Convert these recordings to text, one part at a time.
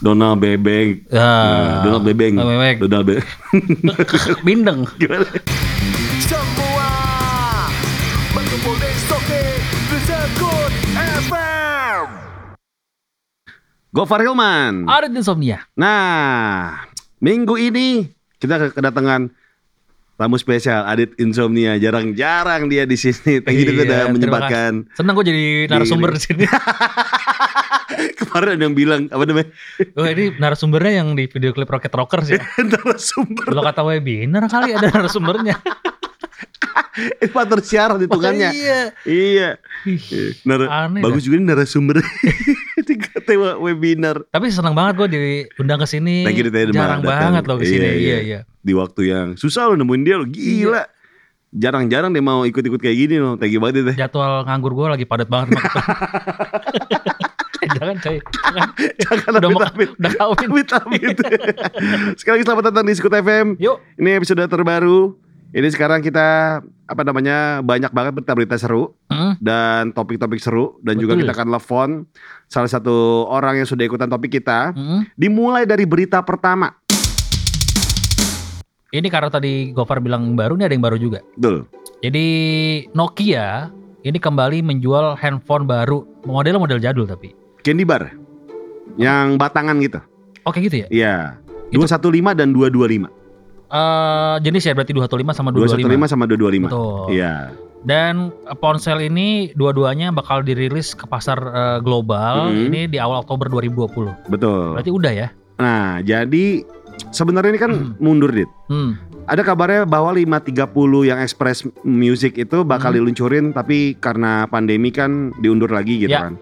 Donald Bebek. Ya. Nah, Donald Bebeng. Donald Bebek. Donald Bebek. Bindeng. Gimana? Semua berkumpul di Stoke di Sekut FM. Gofar Hilman. Ada insomnia. Nah, minggu ini kita ke- kedatangan tamu spesial Adit Insomnia. Jarang-jarang dia di sini. Thank you Iya, udah terima menyempatkan. kasih. Senang gue jadi narasumber di sini. Kemarin ada yang bilang apa namanya? Oh, ini narasumbernya yang di video klip Rocket Rockers ya. Narasumber. Kalau kata webinar kali ada narasumbernya. Itu partner siaran hitungannya. Iya. Iya. Ih. Nara- Aneh bagus juga nih narasumber. Tiga tema webinar. Tapi senang banget gue diundang ke sini. Thank you, Teh, udah Jarang datang. banget loh ke sini. Iya, iya. Iya, iya. Di waktu yang susah lo nemuin dia lo. Gila. Jarang-jarang dia mau ikut-ikut kayak gini loh. Thank you banget ya, Teh. iya. Jadwal nganggur gue lagi padat banget. Mak. Eh, Jangan coy. Jangan. Jangan Udah mau amit-amit. udah kawin. Amit-amit. Sekali lagi selamat datang di Sekut FM. Yuk. Ini episode terbaru. Ini sekarang kita apa namanya banyak banget berita-berita seru Hmm. dan topik-topik seru dan juga Betul. kita akan telepon salah satu orang yang sudah ikutan topik kita. Hmm. Dimulai dari berita pertama. Ini karena tadi Gofar bilang baru, ini ada yang baru juga. Betul. Jadi Nokia ini kembali menjual handphone baru, modelnya model jadul tapi. Candy bar. Yang batangan gitu. Oke gitu ya. Iya. Itu- 215 dan 225. Eh jenis ya berarti 215 sama 225. 215 sama 225. Betul. Iya. Dan eh, ponsel ini dua-duanya bakal dirilis ke pasar eh, global Mhm. ini di awal Oktober 2020. Betul. Berarti udah ya. Nah, jadi sebenarnya ini kan Hmm. mundur dit. Hmm. Ada kabarnya bahwa 530 yang Express Music itu bakal Hmm. diluncurin tapi karena pandemi kan diundur lagi gitu Ya. kan.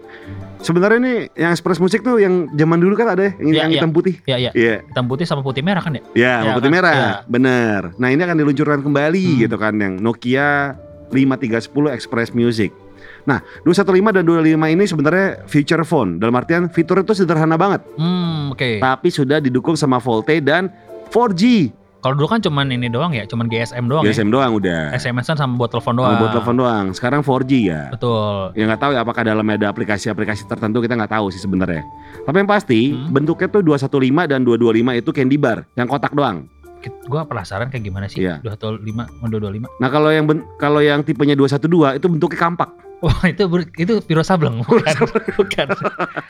Sebenarnya nih yang Express Music tuh yang zaman dulu kan ada ya, yang, Ya, yang ya. hitam putih. Ya ya. Iya, Hitam putih sama putih merah kan ya? ya, sama Ya, putih kan? merah. Ya. Bener. Nah, ini akan diluncurkan kembali Hmm. gitu kan yang Nokia 5310 Express Music. Nah, 215 dan 25 ini sebenarnya feature phone. Dalam artian fitur itu sederhana banget, Hmm, oke. tapi sudah didukung sama Volte dan 4G. Kalau dulu kan cuman ini doang ya, cuman GSM doang GSM Iya, doang udah. ya. SMS-an sama buat telepon doang. Sama buat telepon doang. Sekarang 4G ya. Betul. ya nggak tahu ya apakah dalamnya ada aplikasi-aplikasi tertentu kita nggak tahu sih sebenarnya. Tapi yang pasti Hmm. bentuknya tuh 215 dan 225 itu candy bar yang kotak doang. Ki- Gua penasaran kayak gimana sih Iya. 215 sama 225. Nah, kalau yang ben- kalau yang tipenya 212 itu bentuknya kampak. Wah itu ber- itu piro sableng bukan bukan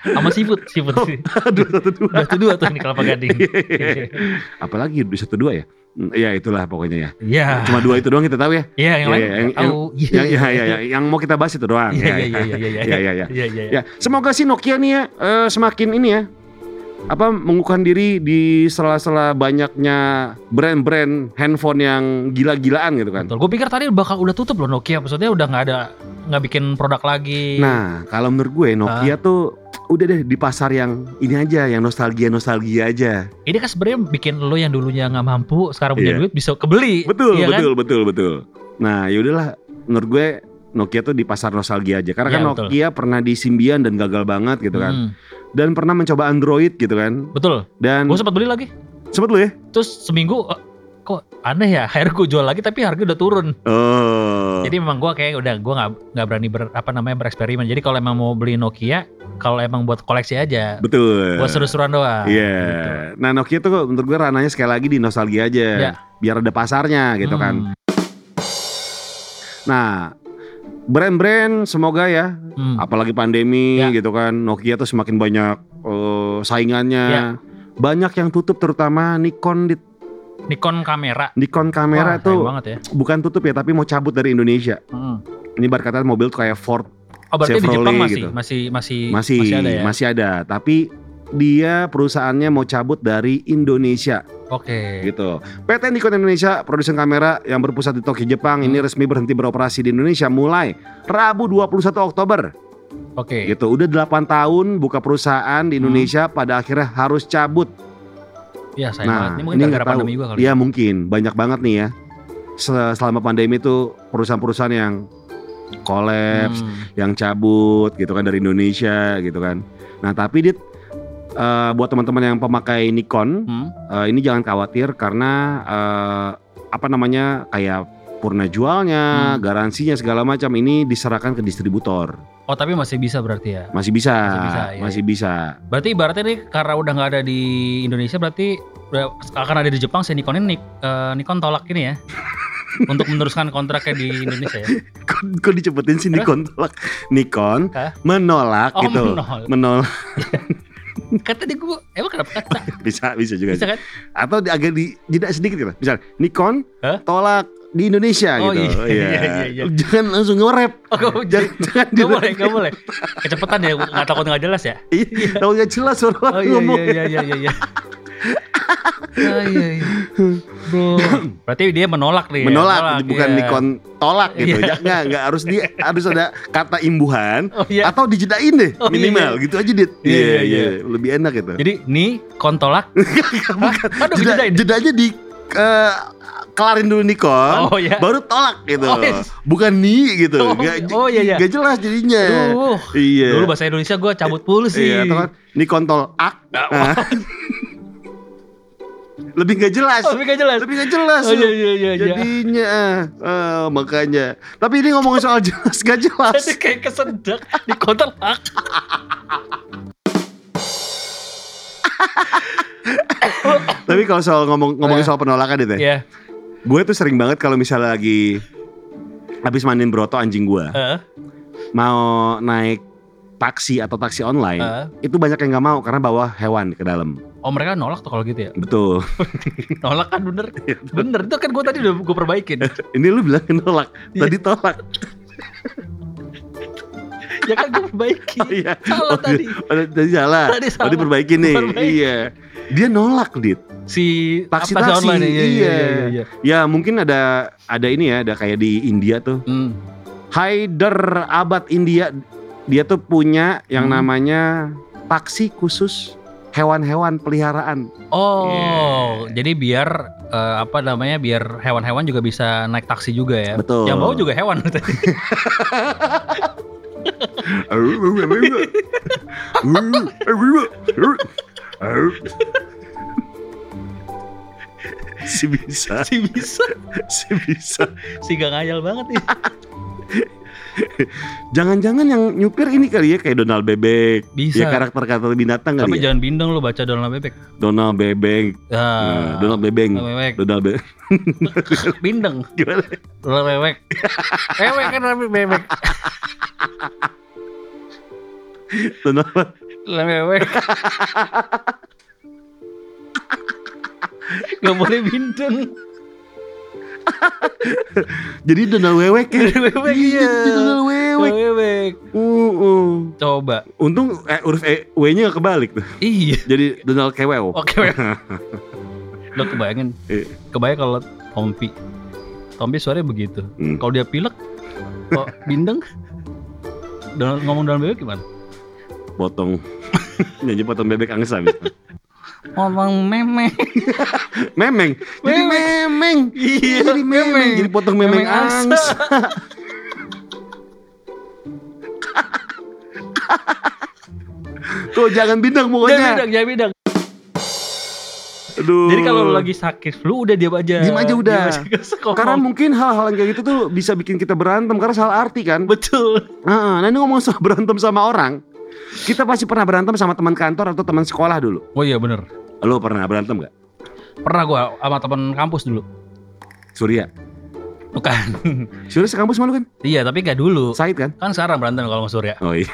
sama seafood seafood sih 212. udah tuh dua tuh ini kelapa gading Apalagi 212 ya? Hmm, Ya itulah pokoknya ya. iya Cuma dua itu doang kita tahu ya. iya yang Iya, lain iya, yang- tahu Yang ya, ya, ya, yang mau kita bahas itu doang. iya iya ya. iya iya Ya, ya, ya. iya iya Ya, semoga sih Nokia nih ya eh, semakin ini ya apa mengukuhkan diri di sela-sela banyaknya brand-brand handphone yang gila-gilaan gitu kan. betul gue pikir tadi bakal udah tutup loh Nokia maksudnya udah nggak ada nggak bikin produk lagi Nah, kalau menurut gue Nokia tuh udah deh di pasar yang ini aja, yang nostalgia-nostalgia aja. ini kan sebenarnya bikin lo yang dulunya nggak mampu sekarang punya Iya. duit bisa kebeli Betul, iya betul, betul, betul. Nah, ya udahlah menurut gue Nokia tuh di pasar nostalgia aja. Karena Iya, kan betul. Nokia pernah di Symbian dan gagal banget gitu kan? kan. Hmm, Dan pernah mencoba Android gitu kan. betul Dan gue sempat beli lagi sebut lu ya. terus seminggu eh, kok aneh ya akhirnya gue jual lagi tapi harga udah turun Oh. Jadi memang gua kayak udah gua nggak nggak berani ber, apa namanya bereksperimen. Jadi kalau emang mau beli Nokia, kalau emang buat koleksi aja, betul. buat seru-seruan doang. Iya. Gitu. Nah Nokia tuh menurut gue ranahnya sekali lagi di nostalgia aja. Iya. Hmm. Biar ada pasarnya gitu kan. Nah brand-brand semoga ya. Hmm, hmm. Apalagi pandemi Iya. gitu kan. Nokia tuh semakin banyak eh, saingannya. Iya. Banyak yang tutup terutama Nikon. dit- Nikon kamera. Nikon kamera Wah, sayang tuh banget ya. bukan tutup ya tapi mau cabut dari Indonesia. Hmm. Ini bar kata mobil tuh kayak Ford. Oh berarti di Chevrolet Jepang masih, gitu. masih masih Masih, masih ada ada. ya. Tapi dia perusahaannya mau cabut dari Indonesia. Oke. gitu. PT Nikon Indonesia, produsen kamera yang berpusat di Tokyo, Jepang, Hmm. ini resmi berhenti beroperasi di Indonesia mulai Rabu 21 Oktober. Oke. Hmm. Gitu. Udah 8 tahun buka perusahaan di Indonesia pada akhirnya harus cabut. Iya sayang Nah, banget. Ini mungkin ini gara-gara nggak tahu. pandemi juga kali. ya. Iya mungkin banyak banget nih ya. Se- Selama pandemi itu perusahaan-perusahaan yang kolaps, Hmm. yang cabut gitu kan dari Indonesia gitu kan. Nah, tapi dit eh, buat teman-teman yang pemakai Nikon Hmm. Eh, ini jangan khawatir karena eh, apa namanya kayak purna Hmm. jualnya, garansinya segala macam ini diserahkan ke distributor. Oh tapi masih bisa berarti ya. Masih bisa, Masih bisa, iya. masih bisa. Berarti ibaratnya nih karena udah nggak ada di Indonesia berarti udah akan ada di Jepang si Nikon ini eh, Nikon tolak ini ya. untuk meneruskan kontraknya di Indonesia ya. Kok, kok dicepetin sih Nikon tolak? Nikon Hah? menolak Oh gitu. menol. Menolak Kata dia gue, emang kenapa kata? bisa bisa juga. Bisa sih. kan? Atau di- agak di jeda sedikit gitu. Misal Nikon Hah? tolak di Indonesia Oh, gitu. iya, iya, iya, iya. Jangan langsung nge-rap. Oh, gak, Jangan, jangan gak di- boleh, gak boleh. Kecepatan ya, nggak takut nggak jelas ya. Iya, Tahu nggak jelas suara Oh orang iya ngomong. iya iya iya iya. Oh, iya, iya. Bro, berarti dia menolak nih. ya? menolak, bukan iya. Nikon tolak gitu. Iya. Ya, Nggak, nggak harus dia harus ada kata imbuhan Oh iya. atau dijedain deh Oh, iya, minimal gitu aja dit. Iya, iya, lebih enak gitu. Jadi nih kontolak. bukan. Aduh, Jeda, dijedain. jedanya di eh, kelarin dulu Nikon, Oh iya. baru tolak gitu. Oh, iya. Bukan ni gitu. Oh, Nggak je- oh, iya, iya. nggak jelas jadinya. Aduh. Iya. Dulu bahasa Indonesia gue cabut pulu sih. Iya, atau kan Nikon tolak. Nah. lebih nggak jelas. Oh, tapi gak jelas. lebih gak jelas Oh, iya, tuh. iya, iya, iya. jadinya eh, makanya tapi ini ngomongin soal jelas gak jelas Jadi kayak kesedak di kontolak. tapi kalau soal ngomong ngomongin Eh. soal penolakan itu ya, Iya. gue tuh sering banget kalau misalnya lagi habis mandiin broto anjing gue Heeh. mau naik taksi atau taksi online Heeh. itu banyak yang nggak mau karena bawa hewan ke dalam eh. Oh mereka nolak tuh kalau gitu ya. betul Nolak kan bener. Iya, Bener itu kan gue tadi udah gue perbaikin. ini lu bilang nolak Iya. tadi tolak ya kan gue perbaiki. Oh, iya Salah Oh, tadi. oh, tadi salah Tadi salah. tadi perbaiki nih Perbaiki. iya dia nolak dit Si Taksi- apa, si taksi, online, Iya iya iya. iya. iya. ya mungkin ada ada ini ya ada kayak di India tuh Hmm. Haider Abad India dia tuh punya yang Hmm. namanya taksi khusus hewan-hewan peliharaan. Oh, Iya. jadi biar eh, apa namanya biar hewan-hewan juga bisa naik taksi juga ya. Betul. Yang bau juga hewan. si bisa, si bisa, si bisa. si gak ngayal banget Iya, nih. Jangan-jangan yang nyupir ini kali ya kayak Donald Bebek. Bisa. Ya karakter-karakter binatang Tapi kali ya. jangan bindeng lu baca Donald Bebek. Donald Bebek. Ah. Nah, Donald Bebek. Donald Bebek. Donald Bebek. Bindeng. Gimana? Donald Bebek. Bebek kan tapi bebek. Donald Donald Bebek. gak boleh bindeng. Jadi Donald Wewek ya. Donald Wewek, iya. Nah, jadi Donald gitu. Wewek. Donald Bebek. Uh, uh. Coba. Untung eh, huruf e, W-nya gak kebalik tuh. Iya. Jadi Donald Kewew. Oke. weh. Lo kebayangin. Iya. Kebayang kalau Tompi. Tompi suaranya begitu. Hmm. Kalau dia pilek, kok bindeng? Donald, ngomong dalam bebek gimana? Potong. Nyanyi potong bebek angsa misalnya. Ngomong meme. Memeng. Jadi Memeng. memeng. Iya, Jadi memeng. memeng. Jadi potong memeng, Memeng angsa. angsa. Tuh jangan bintang Jangan pokoknya. bidang, jangan bidang. Aduh. iya, Jadi kalau lu lagi sakit flu udah diam aja. Diam aja udah. Diam aja. Ngomong. karena mungkin hal-hal yang kayak gitu tuh bisa bikin kita berantem karena salah arti kan. betul. Heeh, nah ini ngomong soal berantem sama orang. Kita pasti pernah berantem sama teman kantor atau teman sekolah dulu. Oh iya bener. Lo pernah berantem gak? Pernah gua sama teman kampus dulu. Surya. Bukan. Surya sekampus malu kan? iya, tapi gak dulu. Said kan? Kan sekarang berantem kalau sama Surya. Oh iya.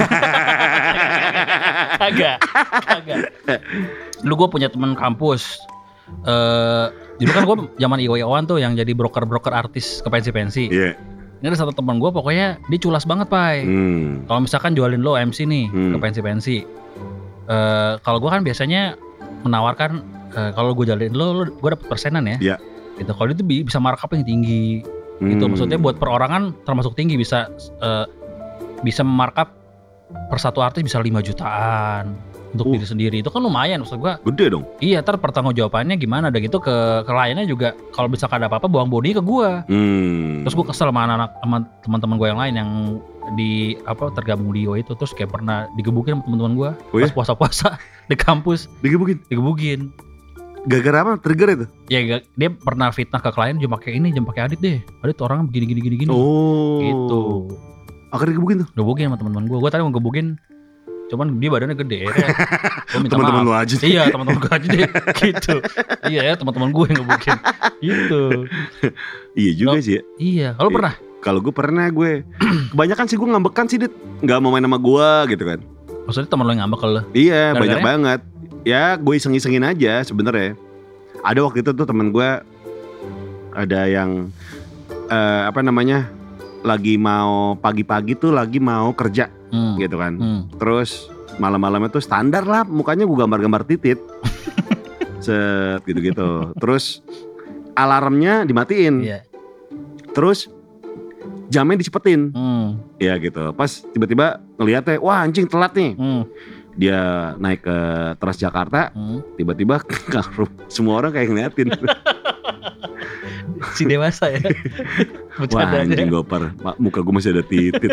Kagak. Kagak. Dulu gua punya teman kampus. Eh, dulu kan gua zaman iwa-iwan tuh yang jadi broker-broker artis ke pensi-pensi. Iya. Ini ada satu teman gua pokoknya dia culas banget, Pai. Hmm. Kalau misalkan jualin lo MC nih Hmm. ke pensi-pensi. Eh, kalau gua kan biasanya menawarkan eh, kalau gue jalin lo, lo gue dapet persenan ya. Iya. Gitu. Kalau itu bisa markup yang tinggi. Itu Hmm. Gitu, maksudnya buat perorangan termasuk tinggi bisa eh, bisa markup per satu artis bisa 5 jutaan untuk Uh. diri sendiri. Itu kan lumayan maksud gua. gede dong. Iya, ntar pertanggungjawabannya gimana udah gitu ke kliennya juga kalau misalkan ada apa-apa buang body ke gua Hmm. terus gue kesel sama anak-anak sama teman-teman gue yang lain yang di apa tergabung di IO itu terus kayak pernah digebukin sama teman-teman gue Oh iya? pas puasa-puasa di kampus digebukin. digebukin gara-gara apa? Trigger itu. Ya ga- dia pernah fitnah ke klien jam pakai ini, jam pakai Adit deh. Adit tuh orangnya begini gini gini gini. Oh. Gitu. Akhirnya gebukin tuh. Gebukin sama teman-teman gue. Gue tadi mau gebukin cuman dia badannya gede. akhirnya Gue minta Teman-teman maaf. lu aja. iya teman-teman gue aja deh gitu iya ya teman-teman gue yang ngebukin gitu Iya juga sih ya. iya kalau Iya. pernah Kalau gue pernah gue kebanyakan sih gue ngambekan sih dit nggak mau main sama gue gitu kan. maksudnya teman lo yang ngambek ke lo Iya Gara-garanya? banyak banget. Ya gue iseng-isengin aja sebenarnya. Ada waktu itu tuh temen gue ada yang eh, apa namanya lagi mau pagi-pagi tuh lagi mau kerja hmm. gitu kan. hmm. Terus malam-malamnya tuh standar lah mukanya gue gambar-gambar titit. Set gitu-gitu. Terus alarmnya dimatiin. iya Terus jamnya dicepetin. hmm. Ya gitu. Pas tiba-tiba ngeliatnya, wah anjing telat nih. Hmm. Dia naik ke Transjakarta, Hmm. tiba-tiba ke ngaruh. Semua orang kayak ngeliatin. si dewasa ya wah anjing bercanda goper. Ma- Muka gue masih ada titit.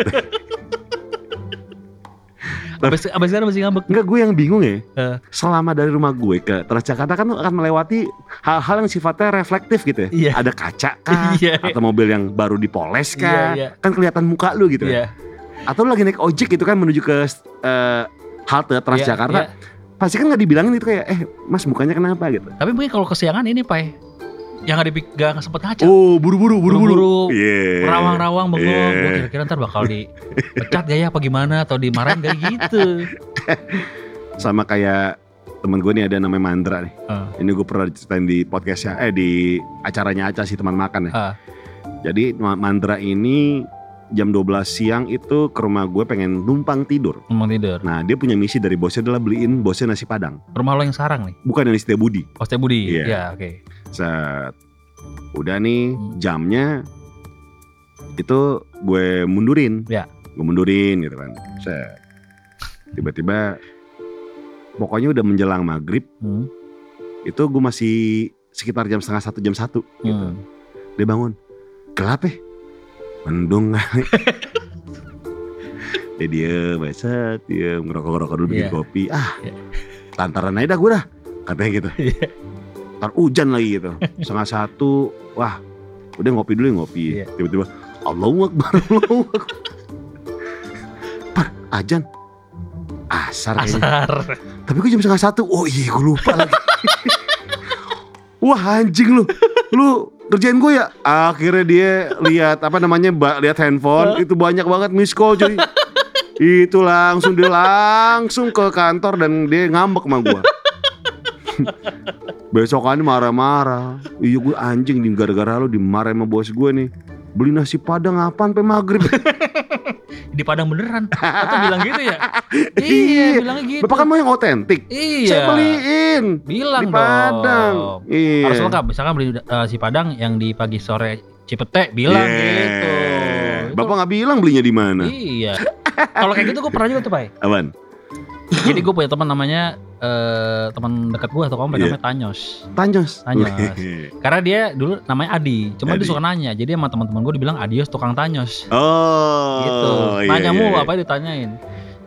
abis, abis sekarang masih ngambek Enggak, gue yang bingung ya. Eh. Selama dari rumah gue ke Transjakarta kan lu akan melewati hal-hal yang sifatnya reflektif gitu ya. Iya. Ada kaca kah? iya Atau mobil yang baru dipoles iya kah? iya Kan kelihatan muka lu gitu. iya Atau lu lagi naik ojek gitu kan menuju ke eh, halte Transjakarta. iya. Pasti kan nggak dibilangin itu kayak, eh mas mukanya kenapa gitu. tapi mungkin kalau kesiangan ini pai yang ada pik- gak sempet ngaca Oh, buru-buru, Iya. Buru-buru, Iya. rawang-rawang bengong Iya. gue kira-kira ntar bakal dipecat gak ya apa gimana atau dimarahin gak gitu Sama kayak temen gue nih ada namanya Mandra nih. Ah. Ini gue pernah ceritain di podcastnya, eh di acaranya Aca sih teman makan ya. Ah. Jadi Ma- Mandra ini jam 12 siang itu ke rumah gue pengen numpang tidur. ngomong tidur Nah dia punya misi dari bosnya adalah beliin bosnya nasi padang. rumah lo yang sarang nih Bukan yang setia budi. Hostel Budi Iya. iya oke Set. Udah nih Hmm. jamnya itu gue mundurin. Ya. Gue mundurin gitu kan. Set. Tiba-tiba pokoknya udah menjelang maghrib Hmm. itu gue masih sekitar jam setengah satu jam satu gitu. Hmm. Dia bangun gelap ya mendung kali. Dia diem, beset, diem, ngerokok-ngerokok dulu bikin Iya. kopi. Ah, Iya. lantaran aja dah gue dah, katanya gitu. Iya. Ntar hujan lagi gitu, setengah satu, wah udah ngopi dulu ya ngopi. Iya. Tiba-tiba, Allahu Akbar, Allahu Akbar. Par, ajan, asar kayaknya. Asar. Tapi gue jam setengah satu. Oh iya gue lupa lagi. Wah anjing lu. Lu kerjain gue ya. Akhirnya dia lihat apa namanya ba- lihat handphone itu banyak banget miss call cuy. itu langsung dia langsung ke kantor dan dia ngambek sama gue. Besokannya marah-marah. Iya gue anjing di gara-gara lu dimarahin sama bos gue nih. Beli nasi padang apaan sampai maghrib. Di Padang beneran. Atau bilang gitu ya? Iya. iya, bilangnya gitu. Bapak kan mau yang otentik. Iya. Saya beliin. di Bilang Padang. dong. Iya. Harus lengkap. Misalkan beli eh, si Padang yang di pagi sore Cipete bilang Yeah. gitu. Itu- Iya. Bapak nggak bilang belinya di mana? Iya. Kalau kayak gitu gue pernah juga tuh, Pak. Awan. Jadi gue punya teman namanya eh teman dekat gue atau komplek Iya. namanya Tanyos. Tanjos. Tanjos. Karena dia dulu namanya Adi, cuma Adi. dia suka nanya. Jadi sama teman-teman gue dibilang Adios tukang Tanyos. oh. gitu. iya, Nanya mulu iya. apa yang ditanyain.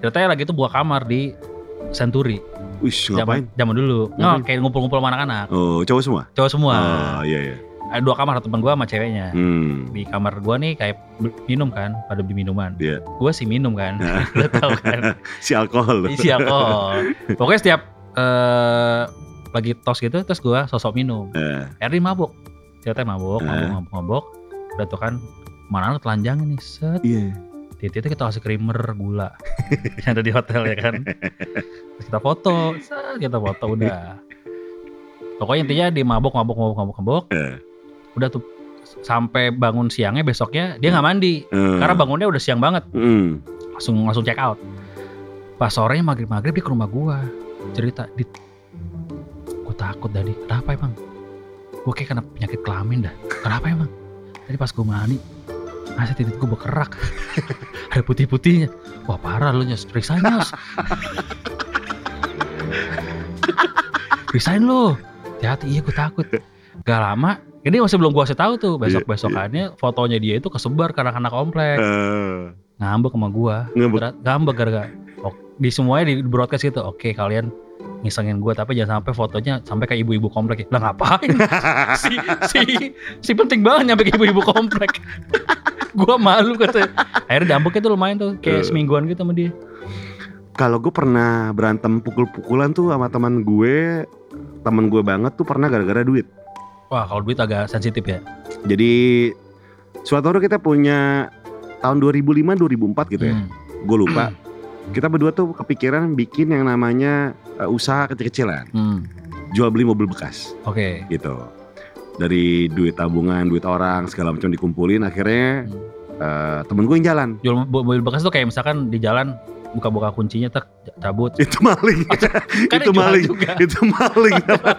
Ceritanya lagi tuh buah kamar di Senturi. Wish, ngapain? Zaman, zaman dulu. Ngapain? Nggak, kayak ngumpul-ngumpul sama anak-anak. Oh, cowok semua. Cowok semua. Oh, iya iya. Ada dua kamar teman gua sama ceweknya. Hmm. Di kamar gua nih kayak bel- minum kan, pada beli minuman. Iya. Nah. Gua sih minum kan. Lo tau kan. Si alkohol. Isi alkohol. Pokoknya setiap eh lagi tos gitu terus gua sosok minum. Eh, Erdi mabuk. Ceritanya mabuk, Eh. mabuk, mabuk, mabuk. Udah tuh kan mana anak telanjang nih, set. Iya. Titik itu kita kasih creamer gula yang ada di hotel ya kan. Terus kita foto, set, kita foto udah. Pokoknya intinya di mabok mabok mabok mabok mabok. Eh. Udah tuh sampai bangun siangnya besoknya dia nggak mandi Eh. karena bangunnya udah siang banget Hmm. langsung langsung check out pas sorenya maghrib maghrib dia ke rumah gua cerita dit gua takut tadi kenapa emang gua kayak kena penyakit kelamin dah kenapa emang tadi pas gua mandi masa titik gua berkerak ada putih putihnya wah parah lu nyos periksain nyos periksain lu hati-hati iya gua takut gak lama ini masih belum gua kasih tahu tuh besok besokannya fotonya dia itu kesebar ke anak-anak komplek Eh, ngambek sama gua Ngambek. Gara- ngambek gara-gara oh, di semuanya di broadcast gitu oke kalian ngisengin gue tapi jangan sampai fotonya sampai kayak ibu-ibu komplek ya. Lah ngapain? si, si, si penting banget nyampe ke ibu-ibu komplek. gua malu katanya. Akhirnya dampaknya tuh lumayan tuh kayak Eh. semingguan gitu sama dia. Kalau gue pernah berantem pukul-pukulan tuh sama teman gue, teman gue banget tuh pernah gara-gara duit. Wah kalau duit agak sensitif ya. Jadi suatu hari kita punya tahun 2005 2004 gitu ya. Hmm. Gue lupa. kita berdua tuh kepikiran bikin yang namanya eh, usaha kecil-kecilan, Hmm. jual beli mobil bekas Oke. gitu. Dari duit tabungan, duit orang segala macam dikumpulin akhirnya Hmm. eh, temen gue yang jalan. Jual mo- mobil bekas tuh kayak misalkan di jalan buka-buka kuncinya tak cabut. Itu maling. Kan itu dijual maling. juga. itu maling.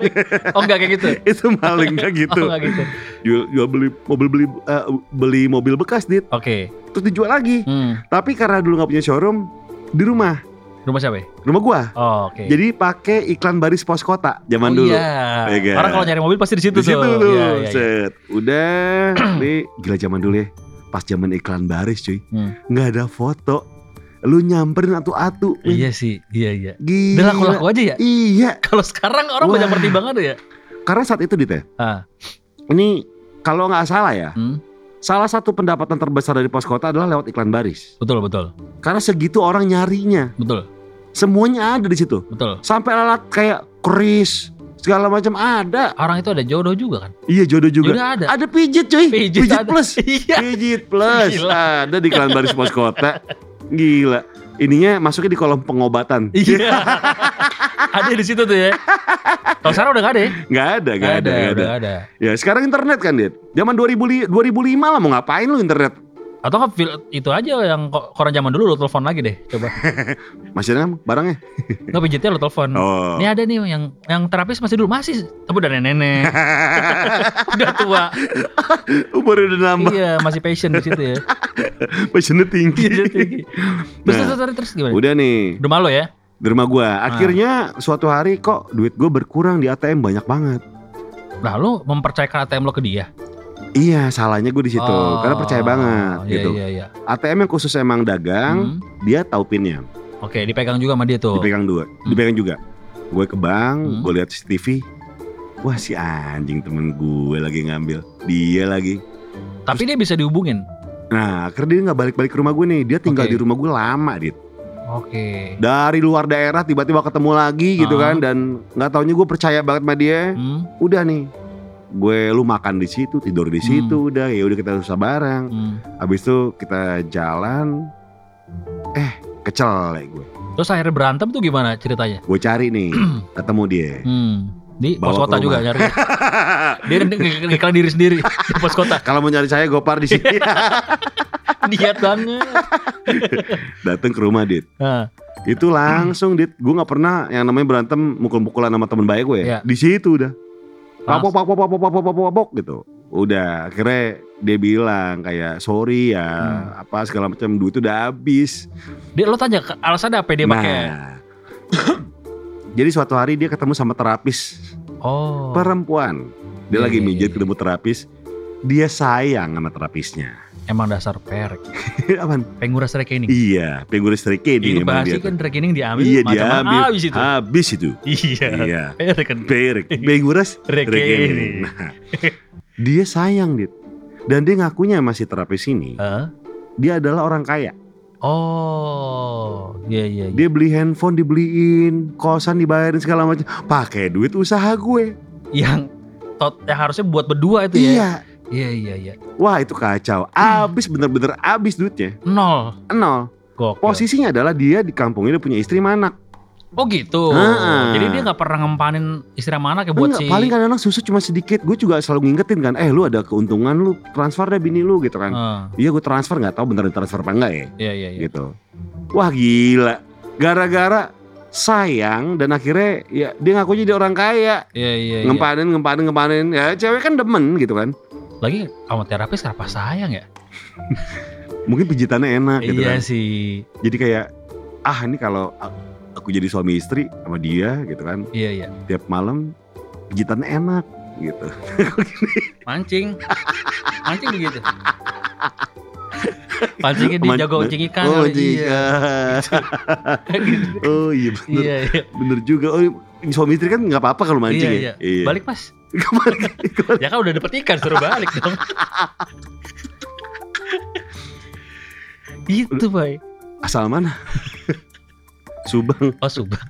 Oh enggak kayak gitu. itu maling kayak gitu. Oh enggak gitu. Jual, jual beli mobil beli eh, beli mobil bekas dit Oke. terus dijual lagi. Hmm. Tapi karena dulu nggak punya showroom di rumah, Rumah siapa? ya? rumah gua. Oh, oke. Jadi pakai iklan baris pos kota zaman Oh, dulu. Iya. Ya kan? Orang kalau nyari mobil pasti di situ Di tuh. situ tuh, Iya, iya, iya. set. Udah, nih gila zaman dulu ya. Pas zaman iklan baris cuy, Hmm. nggak ada foto. Lu nyamperin atu-atu. men. Iya sih, iya iya. Gila. Udah laku-laku aja ya. Iya, Kalau sekarang orang Wah. banyak pertimbangan tuh ya. karena saat itu Dita. Ah. Ini kalau nggak salah ya, Hmm, salah satu pendapatan terbesar dari pos kota adalah lewat iklan baris. betul betul Karena segitu orang nyarinya, betul semuanya ada di situ. betul. Sampai alat kayak keris segala macam ada. Orang itu ada jodoh juga kan. Iya jodoh juga. Jodoh ada. Ada pijit cuy, Pijit ada. plus. Iya. Pijit plus Ah, Gila. ada di Klan Baris Pos Kota. Gila. Ininya masuknya di kolom pengobatan. Iya. ada di situ tuh ya. Kalau sekarang udah gak ada ya? Nggak ada, nggak ada, nggak ada. udah ada. Ya sekarang internet kan, Dit. Zaman 2000, 2005 lah mau ngapain lu internet? Atau nggak fil- itu aja yang ko- koran zaman dulu lo telepon lagi deh, coba. Masih ada kan barangnya? Nggak pijitnya lo telepon. Oh. Ini ada nih yang yang terapis masih dulu masih, tapi udah nenek-nenek, udah tua. Umur udah nambah, iya, masih passion di situ ya. passionnya tinggi. Iya, tinggi. Terus, Nah. terus, terus, terus gimana? udah nih, Udah malu ya? di rumah gua. Akhirnya suatu hari kok duit gua berkurang di ATM banyak banget. Nah, lo mempercayakan ATM lo ke dia? Iya, salahnya gua di situ. Oh, karena percaya banget iya, gitu. Iya, iya. ATM yang khusus emang dagang, Hmm. dia tahu pinnya. Oke, dipegang juga sama dia tuh. dipegang dua, dipegang juga. Gue ke bank, Hmm. gue lihat CCTV. Wah si anjing temen gue lagi ngambil, dia lagi. Tapi dia bisa dihubungin. Nah, akhirnya dia nggak balik-balik ke rumah gue nih. Dia tinggal Oke. di rumah gue lama, dit. Oke. Dari luar daerah tiba-tiba ketemu lagi gitu Ah. kan, dan nggak taunya gue percaya banget sama dia. Hmm, Udah nih, gue lu makan di situ, tidur di situ, udah ya udah kita susah bareng. hmm. Abis itu kita jalan, eh kecelek gue. Terus akhirnya berantem tuh gimana ceritanya? Gue cari nih, ketemu dia. Hmm. Di Bawa pos ke kota rumah. juga nyari. dia ng- ng- ngiklan diri sendiri di pos kota. Kalau mau nyari saya gopar di sini. Niat banget. Datang ke rumah Dit. Nah, Itu langsung Dit. Gue nggak pernah yang namanya berantem mukul-mukulan sama temen baik gue ya. Iya. Di situ udah. Papok langsung. papok papok papok papok papok gitu. Udah akhirnya dia bilang kayak sorry ya Hmm. apa segala macam duit udah habis. Dia lo tanya ke- alasan apa Nah. dia pakai? Jadi suatu hari dia ketemu sama terapis Oh. perempuan. Dia Iya, lagi iya, mijit iya. ketemu terapis. Dia sayang sama terapisnya. Emang dasar perek. Apaan? Penguras rekening. Iya, figur listrik ini Ini emang pasti dia. kan tuh. rekening diambil Iya dia macam-macam. ambil. Habis itu. Habis itu. gitu. Iya. Iya. Perek kan. Perik, Beguras, Rekening. rekening. Nah, dia sayang dit, dan dia ngakunya masih terapis ini. Hah? Dia adalah orang kaya. Oh, iya iya. iya. Dia beli handphone dibeliin, kosan dibayarin segala macam. Pakai duit usaha gue. Yang tot yang harusnya buat berdua itu ya. Iya. Iya iya iya. Wah itu kacau. Abis bener-bener abis duitnya. Nol. Nol. Gokil. Posisinya adalah dia di kampungnya dia punya istri manak. Oh gitu. Heeh. Jadi dia nggak pernah ngempanin istri mana kayak buat Enggak, si paling kan- kadang-kadang susu cuma sedikit. Gue juga selalu ngingetin kan, eh lu ada keuntungan lu transfer deh bini lu gitu kan. Heeh. Iya gue transfer nggak tahu bener transfer apa enggak ya. Iya iya iya. gitu. Wah gila, gara-gara sayang dan akhirnya ya dia ngakunya dia orang kaya, Iya iya. iya. ngempanin ngempanin ngempanin. Ya cewek kan demen gitu kan. Lagi sama terapis kenapa sayang ya? Mungkin pijitannya enak gitu iya kan. sih. Jadi kayak ah ini kalau a- aku jadi suami istri sama dia gitu kan Iya iya. tiap malam pijitannya enak gitu. Mancing. Mancing begitu. gitu. Pancingnya dia jago pancing ikan. Oh, kali. pancing Iya. ikan. Gitu. oh iya bener. Iya, iya. Bener juga. Oh, suami istri kan nggak apa-apa kalau mancing ya. Iya, iya. Balik mas. Balik. Ya kan udah dapet ikan suruh balik dong. Itu bay. Asal mana? Subang. Oh Subang.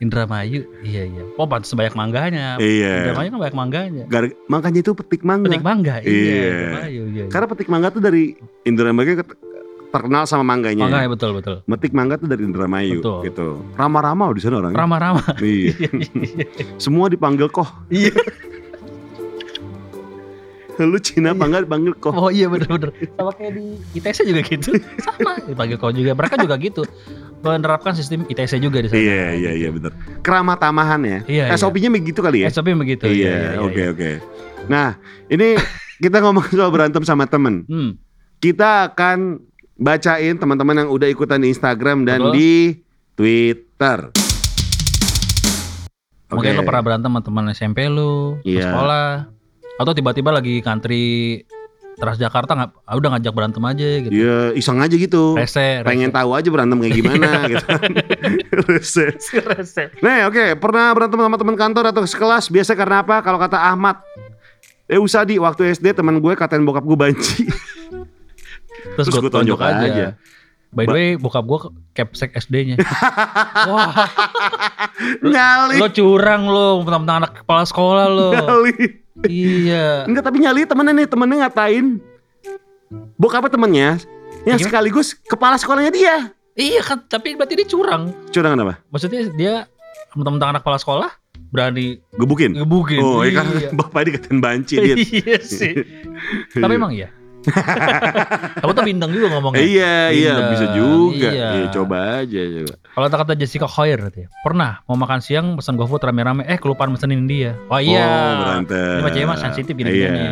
Indramayu. Iya iya. Oh pantas sebanyak mangganya. Iya. Indramayu kan banyak mangganya. Gar- makanya itu petik mangga. Petik mangga. Iya. Indramayu, iya. iya. Karena petik mangga tuh dari Indramayu ket- terkenal sama mangganya. Mangga ya betul betul. Metik mangga tuh dari Indramayu Betul. gitu. Ramah-ramah di sana orangnya. Rama-rama. Iya. Semua dipanggil koh. Iya. Lu Cina apa enggak dipanggil koh? Oh iya bener-bener Sama kayak di ITC juga gitu Sama dipanggil kau juga Mereka juga gitu Menerapkan sistem ITC juga di sana Iya, iya, iya bener. Keramat tamahan ya. Iya, iya. SOP-nya begitu kali ya. SOP begitu Iya, oke, oke. Nah, ini kita ngomong soal berantem sama temen. Hmm, Kita akan bacain teman-teman yang udah ikutan di Instagram dan Betul. di Twitter. Oke. Mungkin lo pernah berantem sama teman SMP lo Iya. Sekolah Atau tiba-tiba lagi country Transjakarta nggak ah, udah ngajak berantem aja gitu Iya, iseng aja gitu. Rese, Pengen tahu aja berantem kayak gimana gitu. Rese. rese. rese. Nah, oke, pernah berantem sama teman kantor atau sekelas? Biasa karena apa? Kalau kata Ahmad, eh usah di waktu SD teman gue katain bokap gue banci. Terus, Terus gua gue tonjok tonjok aja. aja. By the Ba- way, bokap gue capsek SD-nya. Wah, nyali, lo curang lo, mentang-mentang anak kepala sekolah lo. nyali. iya. Enggak, tapi nyali temennya nih, temennya ngatain bokapnya temennya yang Gimana? sekaligus kepala sekolahnya dia. Iya kan, tapi berarti dia curang. Curang apa? Maksudnya dia mentang-mentang anak kepala sekolah berani Gebukin. ngebukin. Oh, iya iya karena bapak dikatain banci dia. Iya sih. Tapi emang iya. Kamu tuh bintang juga ngomongnya. Iya, iya Iya, bisa juga. iya. Iya, coba aja coba. Kalau kata Jessica Hoyer berarti ya. Pernah mau makan siang pesan GoFood rame-rame eh kelupaan mesenin dia. Oh iya. Oh, berantem. Ini mah cewek mah sensitif gini Iya. gini.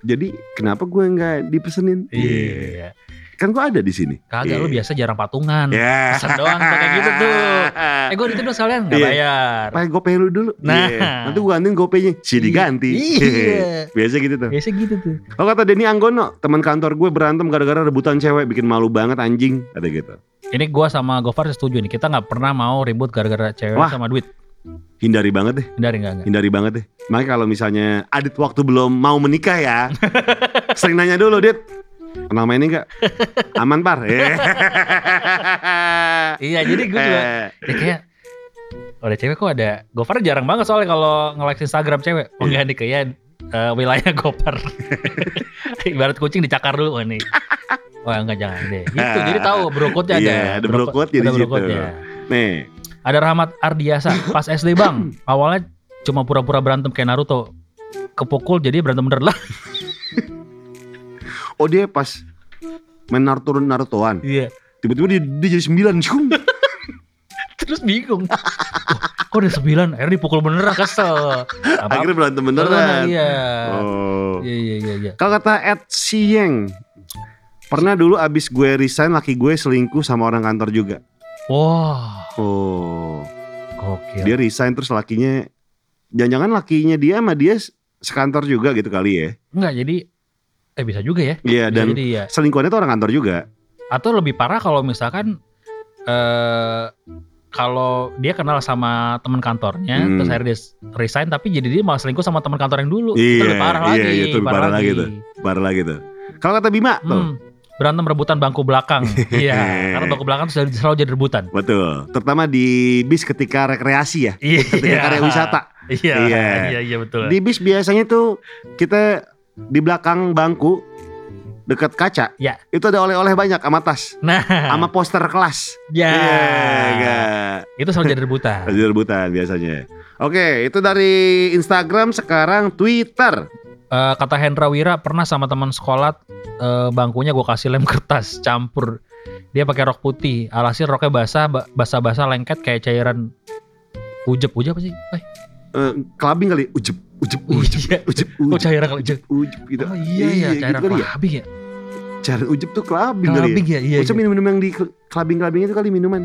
Jadi kenapa gue nggak dipesenin? Iya. Kan gue ada di sini. Kagak lu Iya. biasa jarang patungan. Ya. Pesan doang tuh kayak gitu tuh. Eh gue ditipu sekalian nggak Iya. bayar. Pakai GoPay lu dulu. Nah. Iya. Nanti gua gantiin GoPay-nya. Si diganti. Iya. Biasa gitu tuh. Biasa gitu tuh. Oh kata Denny Anggono, teman kantor gue berantem gara-gara rebutan cewek bikin malu banget anjing. Ada gitu. Ini gua sama Gofar setuju nih. Kita nggak pernah mau ribut gara-gara cewek Wah. sama duit. Hindari banget deh, Hindari nggak nggak. hindari banget deh. Makanya kalau misalnya Adit waktu belum mau menikah ya, sering nanya dulu, Dit. Kenal main ini enggak? Aman, Par. Eh. Iya, jadi gue juga Eh, ya kayak ada cewek kok ada. Gofar jarang banget soalnya kalau nge-like Instagram cewek. Iya. Oh enggak nih kayak eh, wilayah Gopar. Ibarat kucing dicakar dulu oh, nih. Wah enggak jangan deh. Gitu jadi tahu brokotnya ada. Nah, Iya, ada Brokot- brokotnya di ada situ. brokotnya. Nih, Ada Rahmat Ardiasa pas SD Bang. Awalnya cuma pura-pura berantem kayak Naruto. Kepukul jadi berantem bener lah. oh dia pas main Naruto Narutoan, Iya. tiba-tiba dia, dia jadi sembilan. Syung. Terus bingung. Wah, kok udah sembilan? Akhirnya dipukul beneran kesel. Apa- Akhirnya berantem beneran. Iya. Oh. Iya iya iya iya. Kalau kata Ed Sieng, pernah dulu abis gue resign laki gue selingkuh sama orang kantor juga. Wah, Oh, gokil. dia resign terus lakinya, jangan-jangan lakinya dia sama dia se- sekantor juga gitu kali ya? Enggak jadi eh bisa juga ya. Iya Bisa dan jadi ya. selingkuhannya tuh orang kantor juga. Atau lebih parah kalau misalkan eh kalau dia kenal sama teman kantornya Hmm. terus akhirnya dia resign tapi jadi dia malah selingkuh sama teman kantor yang dulu. Iya, itu lebih parah iya, lagi. iya, itu lebih parah lagi tuh. Parah lagi tuh. gitu. Kalau kata Bima tuh, Hmm, berantem rebutan bangku belakang. Iya, karena bangku belakang tuh selalu selalu jadi rebutan. betul. Terutama di bis ketika rekreasi ya, Iya. ketika karya wisata. Iya, Iya. iya, iya betul. Di bis biasanya tuh kita di belakang bangku dekat kaca, Ya. itu ada oleh-oleh banyak sama tas, Nah, sama poster kelas. ya. Iya, enggak. Itu selalu jadi rebutan. Ada rebutan biasanya. Oke, itu dari Instagram sekarang Twitter. Eh, kata Hendra Wira pernah sama teman sekolah eh, bangkunya gue kasih lem kertas campur. Dia pakai rok putih, alhasil roknya basah, ba- basah-basah lengket kayak cairan ujep ujep apa sih? Eh, Eh, kelabing kali, ujep, ujep, ujep, iya. ujep, Oh ujep, cairan ujep. ujep gitu. Oh iya ya, cairan gitu kali ya. kelabing ya. Cairan ujep tuh kelabing kali ya. Kelabing ya, iya. Maksudnya iya. minum-minum yang di kel- kelabing-kelabing itu kali minuman.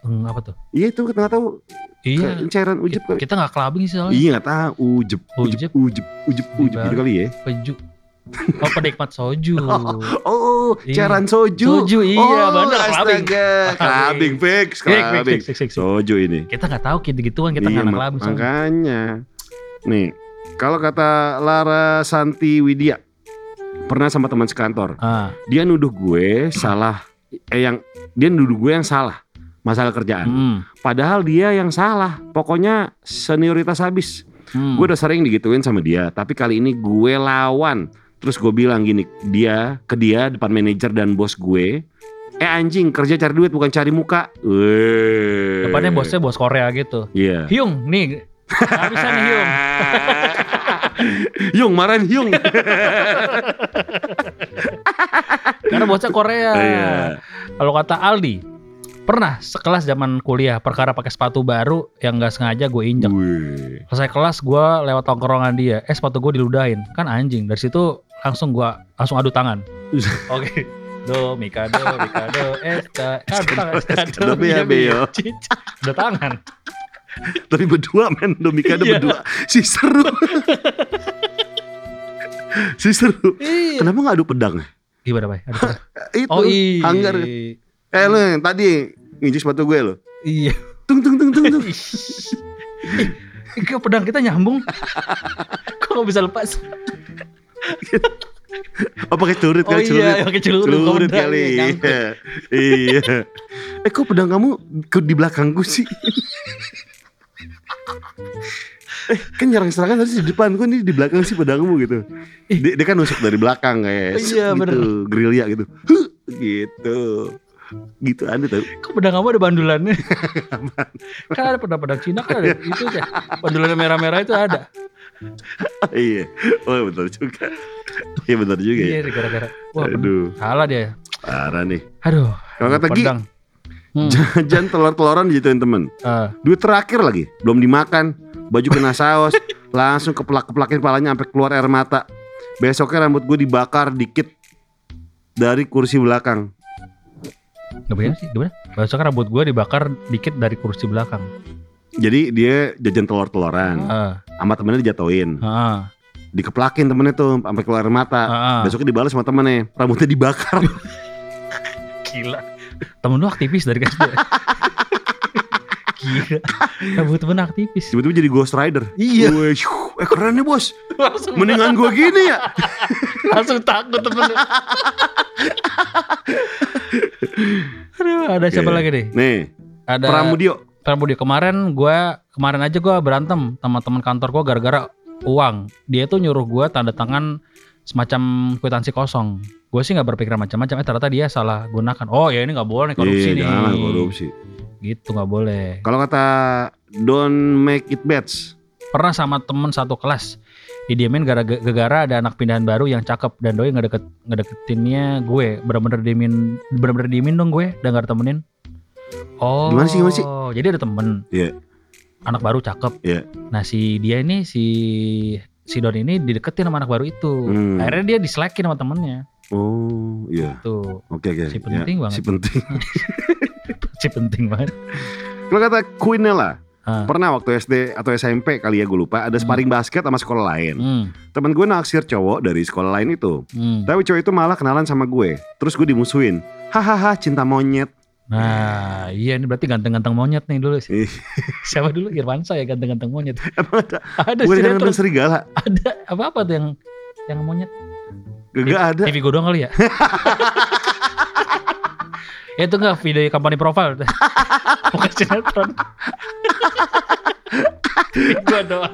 Hmm, apa tuh? Iya itu nggak tahu Iya. ke- cairan ujep Ki- kali. Kita nggak kelabing sih soalnya. Iya nggak tahu ujep, ujep, Ujep. ujep, ujep, ujep gitu Ibarat. kali ya. Peju. Oh penikmat soju. Oh, Iya. cairan soju. Soju, iya, oh, bener, clubbing. Astaga, clubbing fix, Fix, fix, clubbing. fix, fix, fix. Soju ini. Kita nggak tahu gitu gituan kita Iya, nggak mak- ngalami soalnya. makanya. Nih, kalau kata Lara Santi Widya, pernah sama teman sekantor. Ah, Dia nuduh gue salah eh yang dia nuduh gue yang salah masalah kerjaan. hmm, Padahal dia yang salah. Pokoknya senioritas habis. hmm. Gue udah sering digituin sama dia, tapi kali ini gue lawan. Terus gue bilang gini, dia ke dia depan manajer dan bos gue. Eh anjing kerja cari duit bukan cari muka. Weh. depannya bosnya bos Korea gitu. Iya. Hyung nih. Harusan nih Hyung. Yung marahin Yung. Karena bosnya Korea. Iya. Kalau kata Aldi, pernah sekelas zaman kuliah perkara pakai sepatu baru yang nggak sengaja gue Iya. injek. Weh. Selesai kelas gue lewat tongkrongan dia, eh sepatu gue diludahin, kan anjing. Dari situ langsung gue langsung adu tangan. Oke. Do, Mikado, Mikado, Esta, eh, adu tangan, Eskado, Eskado, iya, Beo. Cic. Adu tangan. Tapi berdua men, Domika ada Iya. berdua. Si seru. si seru. Iya. Kenapa gak adu pedang? Gimana, Bay? Adu tangan. Itu, Oh, iya. hanggar. Eh lu yang tadi nginjek sepatu gue lo. Iya. Tung tung tung tung tung. Ih, Ke pedang kita nyambung. Kok nggak bisa lepas? Oh pakai celurit Oh kali celurit. iya, pakai celuru. Celurit kondang, kali. iya, nyangkut. Iya. iya. Eh kok pedang kamu ke di belakangku sih? eh kan nyerang serangan tadi di depan kok ini di belakang sih pedangmu gitu. Dia, dia kan nusuk dari belakang kayak Iya, gitu, bener. gerilya gitu. Huh, gitu. Gitu ada tuh. Kok pedang kamu ada bandulannya? kan ada pedang-pedang Cina kan ada itu kan. Bandulannya merah-merah itu ada. iya. Oh benar juga. Iya benar juga ya. Iya, gara-gara. Wah, pedang. Aduh, salah dia. parah nih. Aduh. Kalau kata Gi, pedang. Hmm, jajan telur-teloran dijatuhin temen. eh, Duit terakhir lagi, belum dimakan, baju kena saus, langsung keplak-keplakin palanya sampai keluar air mata. Besoknya rambut gue dibakar dikit dari kursi belakang. nggak bener sih, gimana? Besok kan rambut gue dibakar dikit dari kursi belakang. Ah, Jadi dia jajan telur-teloran, Heeh. sama temennya dijatoin, Heeh. dikeplakin temennya tuh sampai keluar air mata. Heeh. Besoknya dibalas sama temennya, rambutnya dibakar. Gila. Temen lu aktivis dari SD. Gila. Rambut temen aktivis. Tiba-tiba jadi Ghost Rider. Iya. Weh, syuh, eh keren nih bos, langsung mendingan gue gini ya. langsung takut temen lu. Aduh, ada siapa Oke. lagi nih? Nih, Ada Pramudio. Pramudio kemarin gua kemarin aja gua berantem sama teman kantor gua gara-gara uang. Dia tuh nyuruh gua tanda tangan semacam kwitansi kosong. Gue sih nggak berpikiran macam-macam. Eh ternyata dia salah gunakan. Oh ya ini nggak boleh nih korupsi Iya, nih. jangan korupsi. Gitu nggak boleh. Kalau kata Don't Make It Bad, Pernah sama temen satu kelas didiemin gara- gara-gara ada anak pindahan baru yang cakep dan doi ngedeket ngedeketinnya gue bener-bener diemin bener-bener diemin dong gue dan gak temenin oh Gimana sih, gimana sih? jadi ada temen Iya. anak baru cakep Iya. nah si dia ini si si Don ini dideketin sama anak baru itu Hmm. akhirnya dia diselekin sama temennya Oh iya, tuh oke oke. Si penting Ya, banget. Si penting. si penting banget Kalau kata Quinella, Ah. pernah waktu SD atau SMP kali ya gue lupa ada Hmm. sparring basket sama sekolah lain. hmm, Temen gue naksir cowok dari sekolah lain itu, hmm. tapi cowok itu malah kenalan sama gue. Terus gue dimusuhin. Hahaha, cinta monyet. nah iya ini berarti ganteng-ganteng monyet nih dulu sih Ih. siapa dulu Irwansa ya ganteng-ganteng monyet Emang ada? ada Gue dengan sinetron. serigala. ada apa apa tuh yang yang monyet Gak ada. TV gue doang kali ya ya itu enggak video company profile bukan sinetron TV gue doang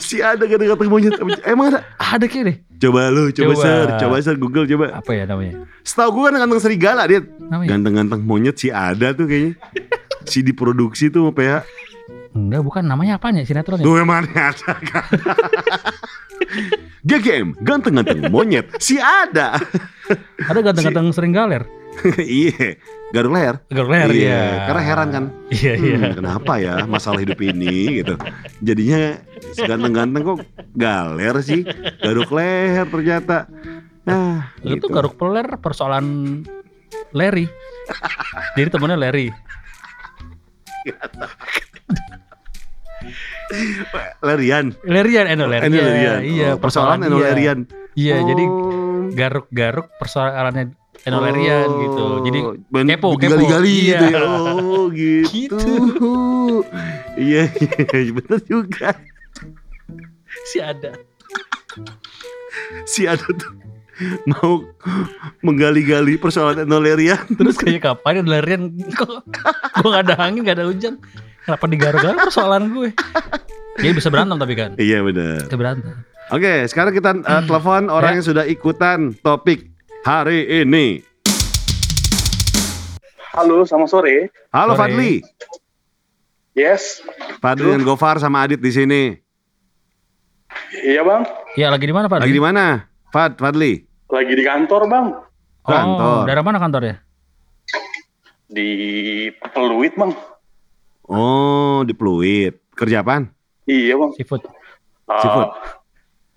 Si ada gak ada kata monyet. Emang ada? ada kayak deh Coba lu, coba, Coba. ser, coba ser Google coba. apa ya namanya Setahu gue kan ganteng serigala dia. namanya Ganteng-ganteng monyet si ada tuh kayaknya. si diproduksi tuh sama PH. enggak bukan namanya apanya sinetron ya Tuh emang ada kan? GGM, ganteng-ganteng monyet, si ada. ada ganteng-ganteng sering galer iya, garuk leher. galer ya Iya, Karena heran kan, iya hmm, iya kenapa ya masalah hidup ini gitu. Jadinya ganteng-ganteng kok galer sih, garuk leher ternyata. Nah, itu garuk peler persoalan Larry jadi temennya Larry Lerian. Lerian, Eno Lerian. Enolerian. Iya, Oh, persoalan dia. enolerian. Iya, jadi Oh. garuk-garuk persoalannya enolerian Oh, gitu. Jadi ben- kepo, kepo. digali-gali Iya. gitu ya. Oh, gitu. Gitu. Iya, iya, bener juga. si ada. Si ada tuh mau menggali-gali persoalan enolerian. Terus kayak kapan enolerian kok gua nggak ada angin, nggak ada hujan. Kenapa digaruk-garuk persoalan gue? Dia bisa berantem tapi kan. Iya bener. Bisa berantem. Oke, sekarang kita eh, telepon orang Ya. yang sudah ikutan topik hari ini. Halo, selamat sore. Halo Sore. Fadli. Yes, Fadli dan Gofar sama Adit di sini. iya bang. Iya, lagi di mana, Pak? Lagi di mana? Fad, Fadli. Lagi di kantor bang, Oh, kantor. daerah mana kantornya? di Peluit bang. Oh, di Pluit. Kerja apaan? Iya bang. Seafood. Ah, Seafood.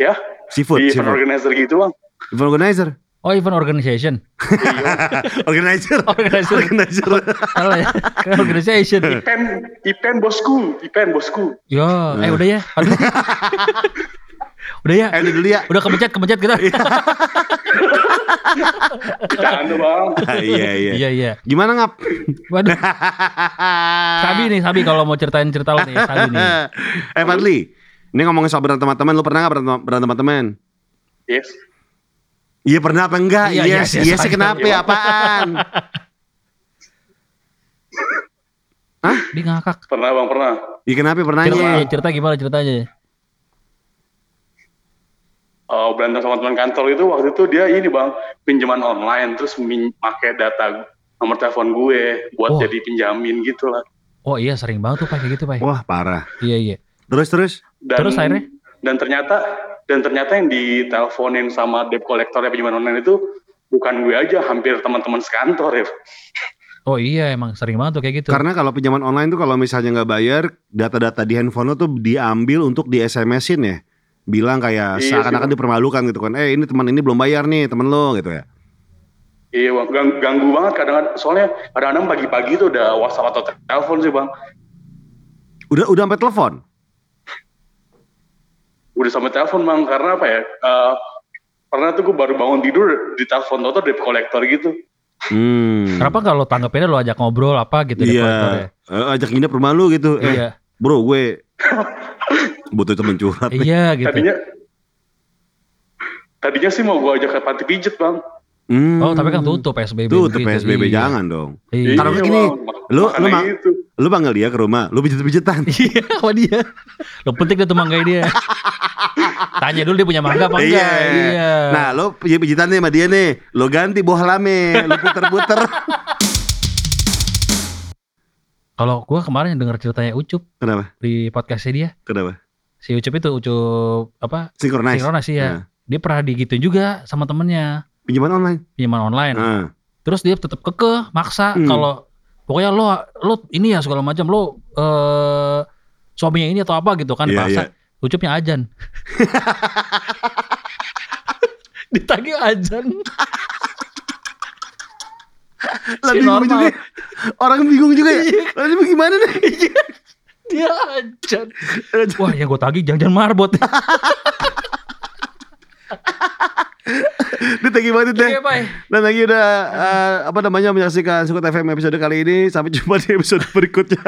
ya, Seafood, di event seafood. organizer gitu bang. Event organizer. Oh, event organization. Iya. organizer. Organizer. organizer. Salah ya. Kan organization. Ipen, Ipen bosku, Ipen bosku. Yo, Hmm. eh udah ya. Aduh. udah ya. Eh, ini dulu ya. Udah kepencet, kepencet kita. Bercanda bang. Ah, iya, iya. Iya, iya. Gimana ngap? Waduh, Sabi nih, Sabi kalau mau ceritain cerita lo nih, Sabi nih. eh Fadli, ini ngomongin soal berantem teman-teman, lu pernah nggak berantem, berantem sama teman? Yes. Iya pernah apa enggak? Iya, Iya, yes, yes, yes, yes, kenapa iya. apaan? Dia ngakak. Pernah bang, pernah. Iya kenapa Cerita, pernahnya? cerita gimana ceritanya? Eh, berantem sama teman kantor itu waktu itu dia ini bang pinjaman online terus min pakai data nomor telepon gue buat Oh. jadi pinjamin gitu lah. Oh iya sering banget tuh Pak kayak gitu Pak. Wah, parah. Iya iya. Terus terus. Dan, Terus akhirnya? Dan ternyata dan ternyata yang diteleponin sama debt collectornya pinjaman online itu bukan gue aja, hampir teman-teman sekantor ya. Oh iya emang sering banget tuh kayak gitu. Karena kalau pinjaman online tuh kalau misalnya nggak bayar, data-data di handphone lo tuh diambil untuk di SMS-in ya. Bilang kayak Iya sih, seakan-akan Bang. dipermalukan gitu kan. Eh, ini teman ini belum bayar nih, teman lo gitu ya. Iya bang, Gang- ganggu banget kadang-kadang. Soalnya kadang-kadang pagi-pagi tuh udah WhatsApp atau telepon sih bang, Udah udah sampai telepon. udah sampai telepon bang. Karena apa ya? eh, pernah tuh gue baru bangun tidur di telepon atau debt collector gitu. Hmm. Kenapa kalau tanggapinnya lo ajak ngobrol apa gitu deh, kolektor ya? Iya. Eh, ajak nginep rumah lu gitu. Eh, Iya. bro gue butuh temen curhat nih. Iya gitu. Tadinya tadinya sih mau gue ajak ke panti pijet bang. Hmm. Oh tapi kan tutup PSBB. Tuh, tuh begitu. PSBB Iya. jangan dong. Iya. Taruh ke gini, lu- lu Makanya ma- gitu. Lu panggil dia ke rumah, lu pijet-pijetan. Iya sama dia. Lo penting deh tuh manggai dia. Tanya dulu dia punya mangga apa enggak. Iya. Nah, lu pijet-pijetan nih sama dia nih. Lu ganti bohlame, lu puter-puter. Kalau gua kemarin denger ceritanya Ucup Kenapa? di podcastnya dia, Kenapa? si Ucup itu Ucup apa? Synchronize. Sinkronas Nah, ya. Dia pernah digituin juga sama temennya pinjaman online. pinjaman online. Nah, terus dia tetap keke maksa Hmm. kalau pokoknya lo lo ini ya segala macam lo eh suaminya ini atau apa gitu kan Iya, paksa ucapnya ajan ditagih ajan Lah, Si bingung normal. juga. ya. Orang bingung juga ya. Iya. Lalu gimana nih? dia ajan wah yang gue tagih jangan marbot Dia thank you banget deh. Oke, bye. Dan lagi udah eh, apa namanya menyaksikan Sukut FM episode kali ini. Sampai jumpa di episode berikutnya.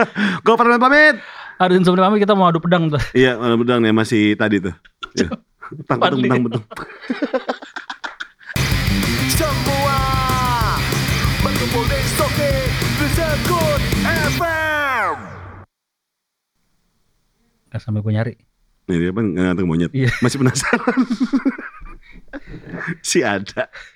Gue Farman pamit. Arin sebenarnya kita mau adu pedang tuh Iya, malam bedang ya masih tadi tuh. Ya. Tang betung, Fadli. tang betung. Semua berkumpul di Soke Reza Good FM Nggak sampai gue Eh, nyari Nih Iya. dia kan nggak nganteng monyet. Iya. Masih penasaran. si ada.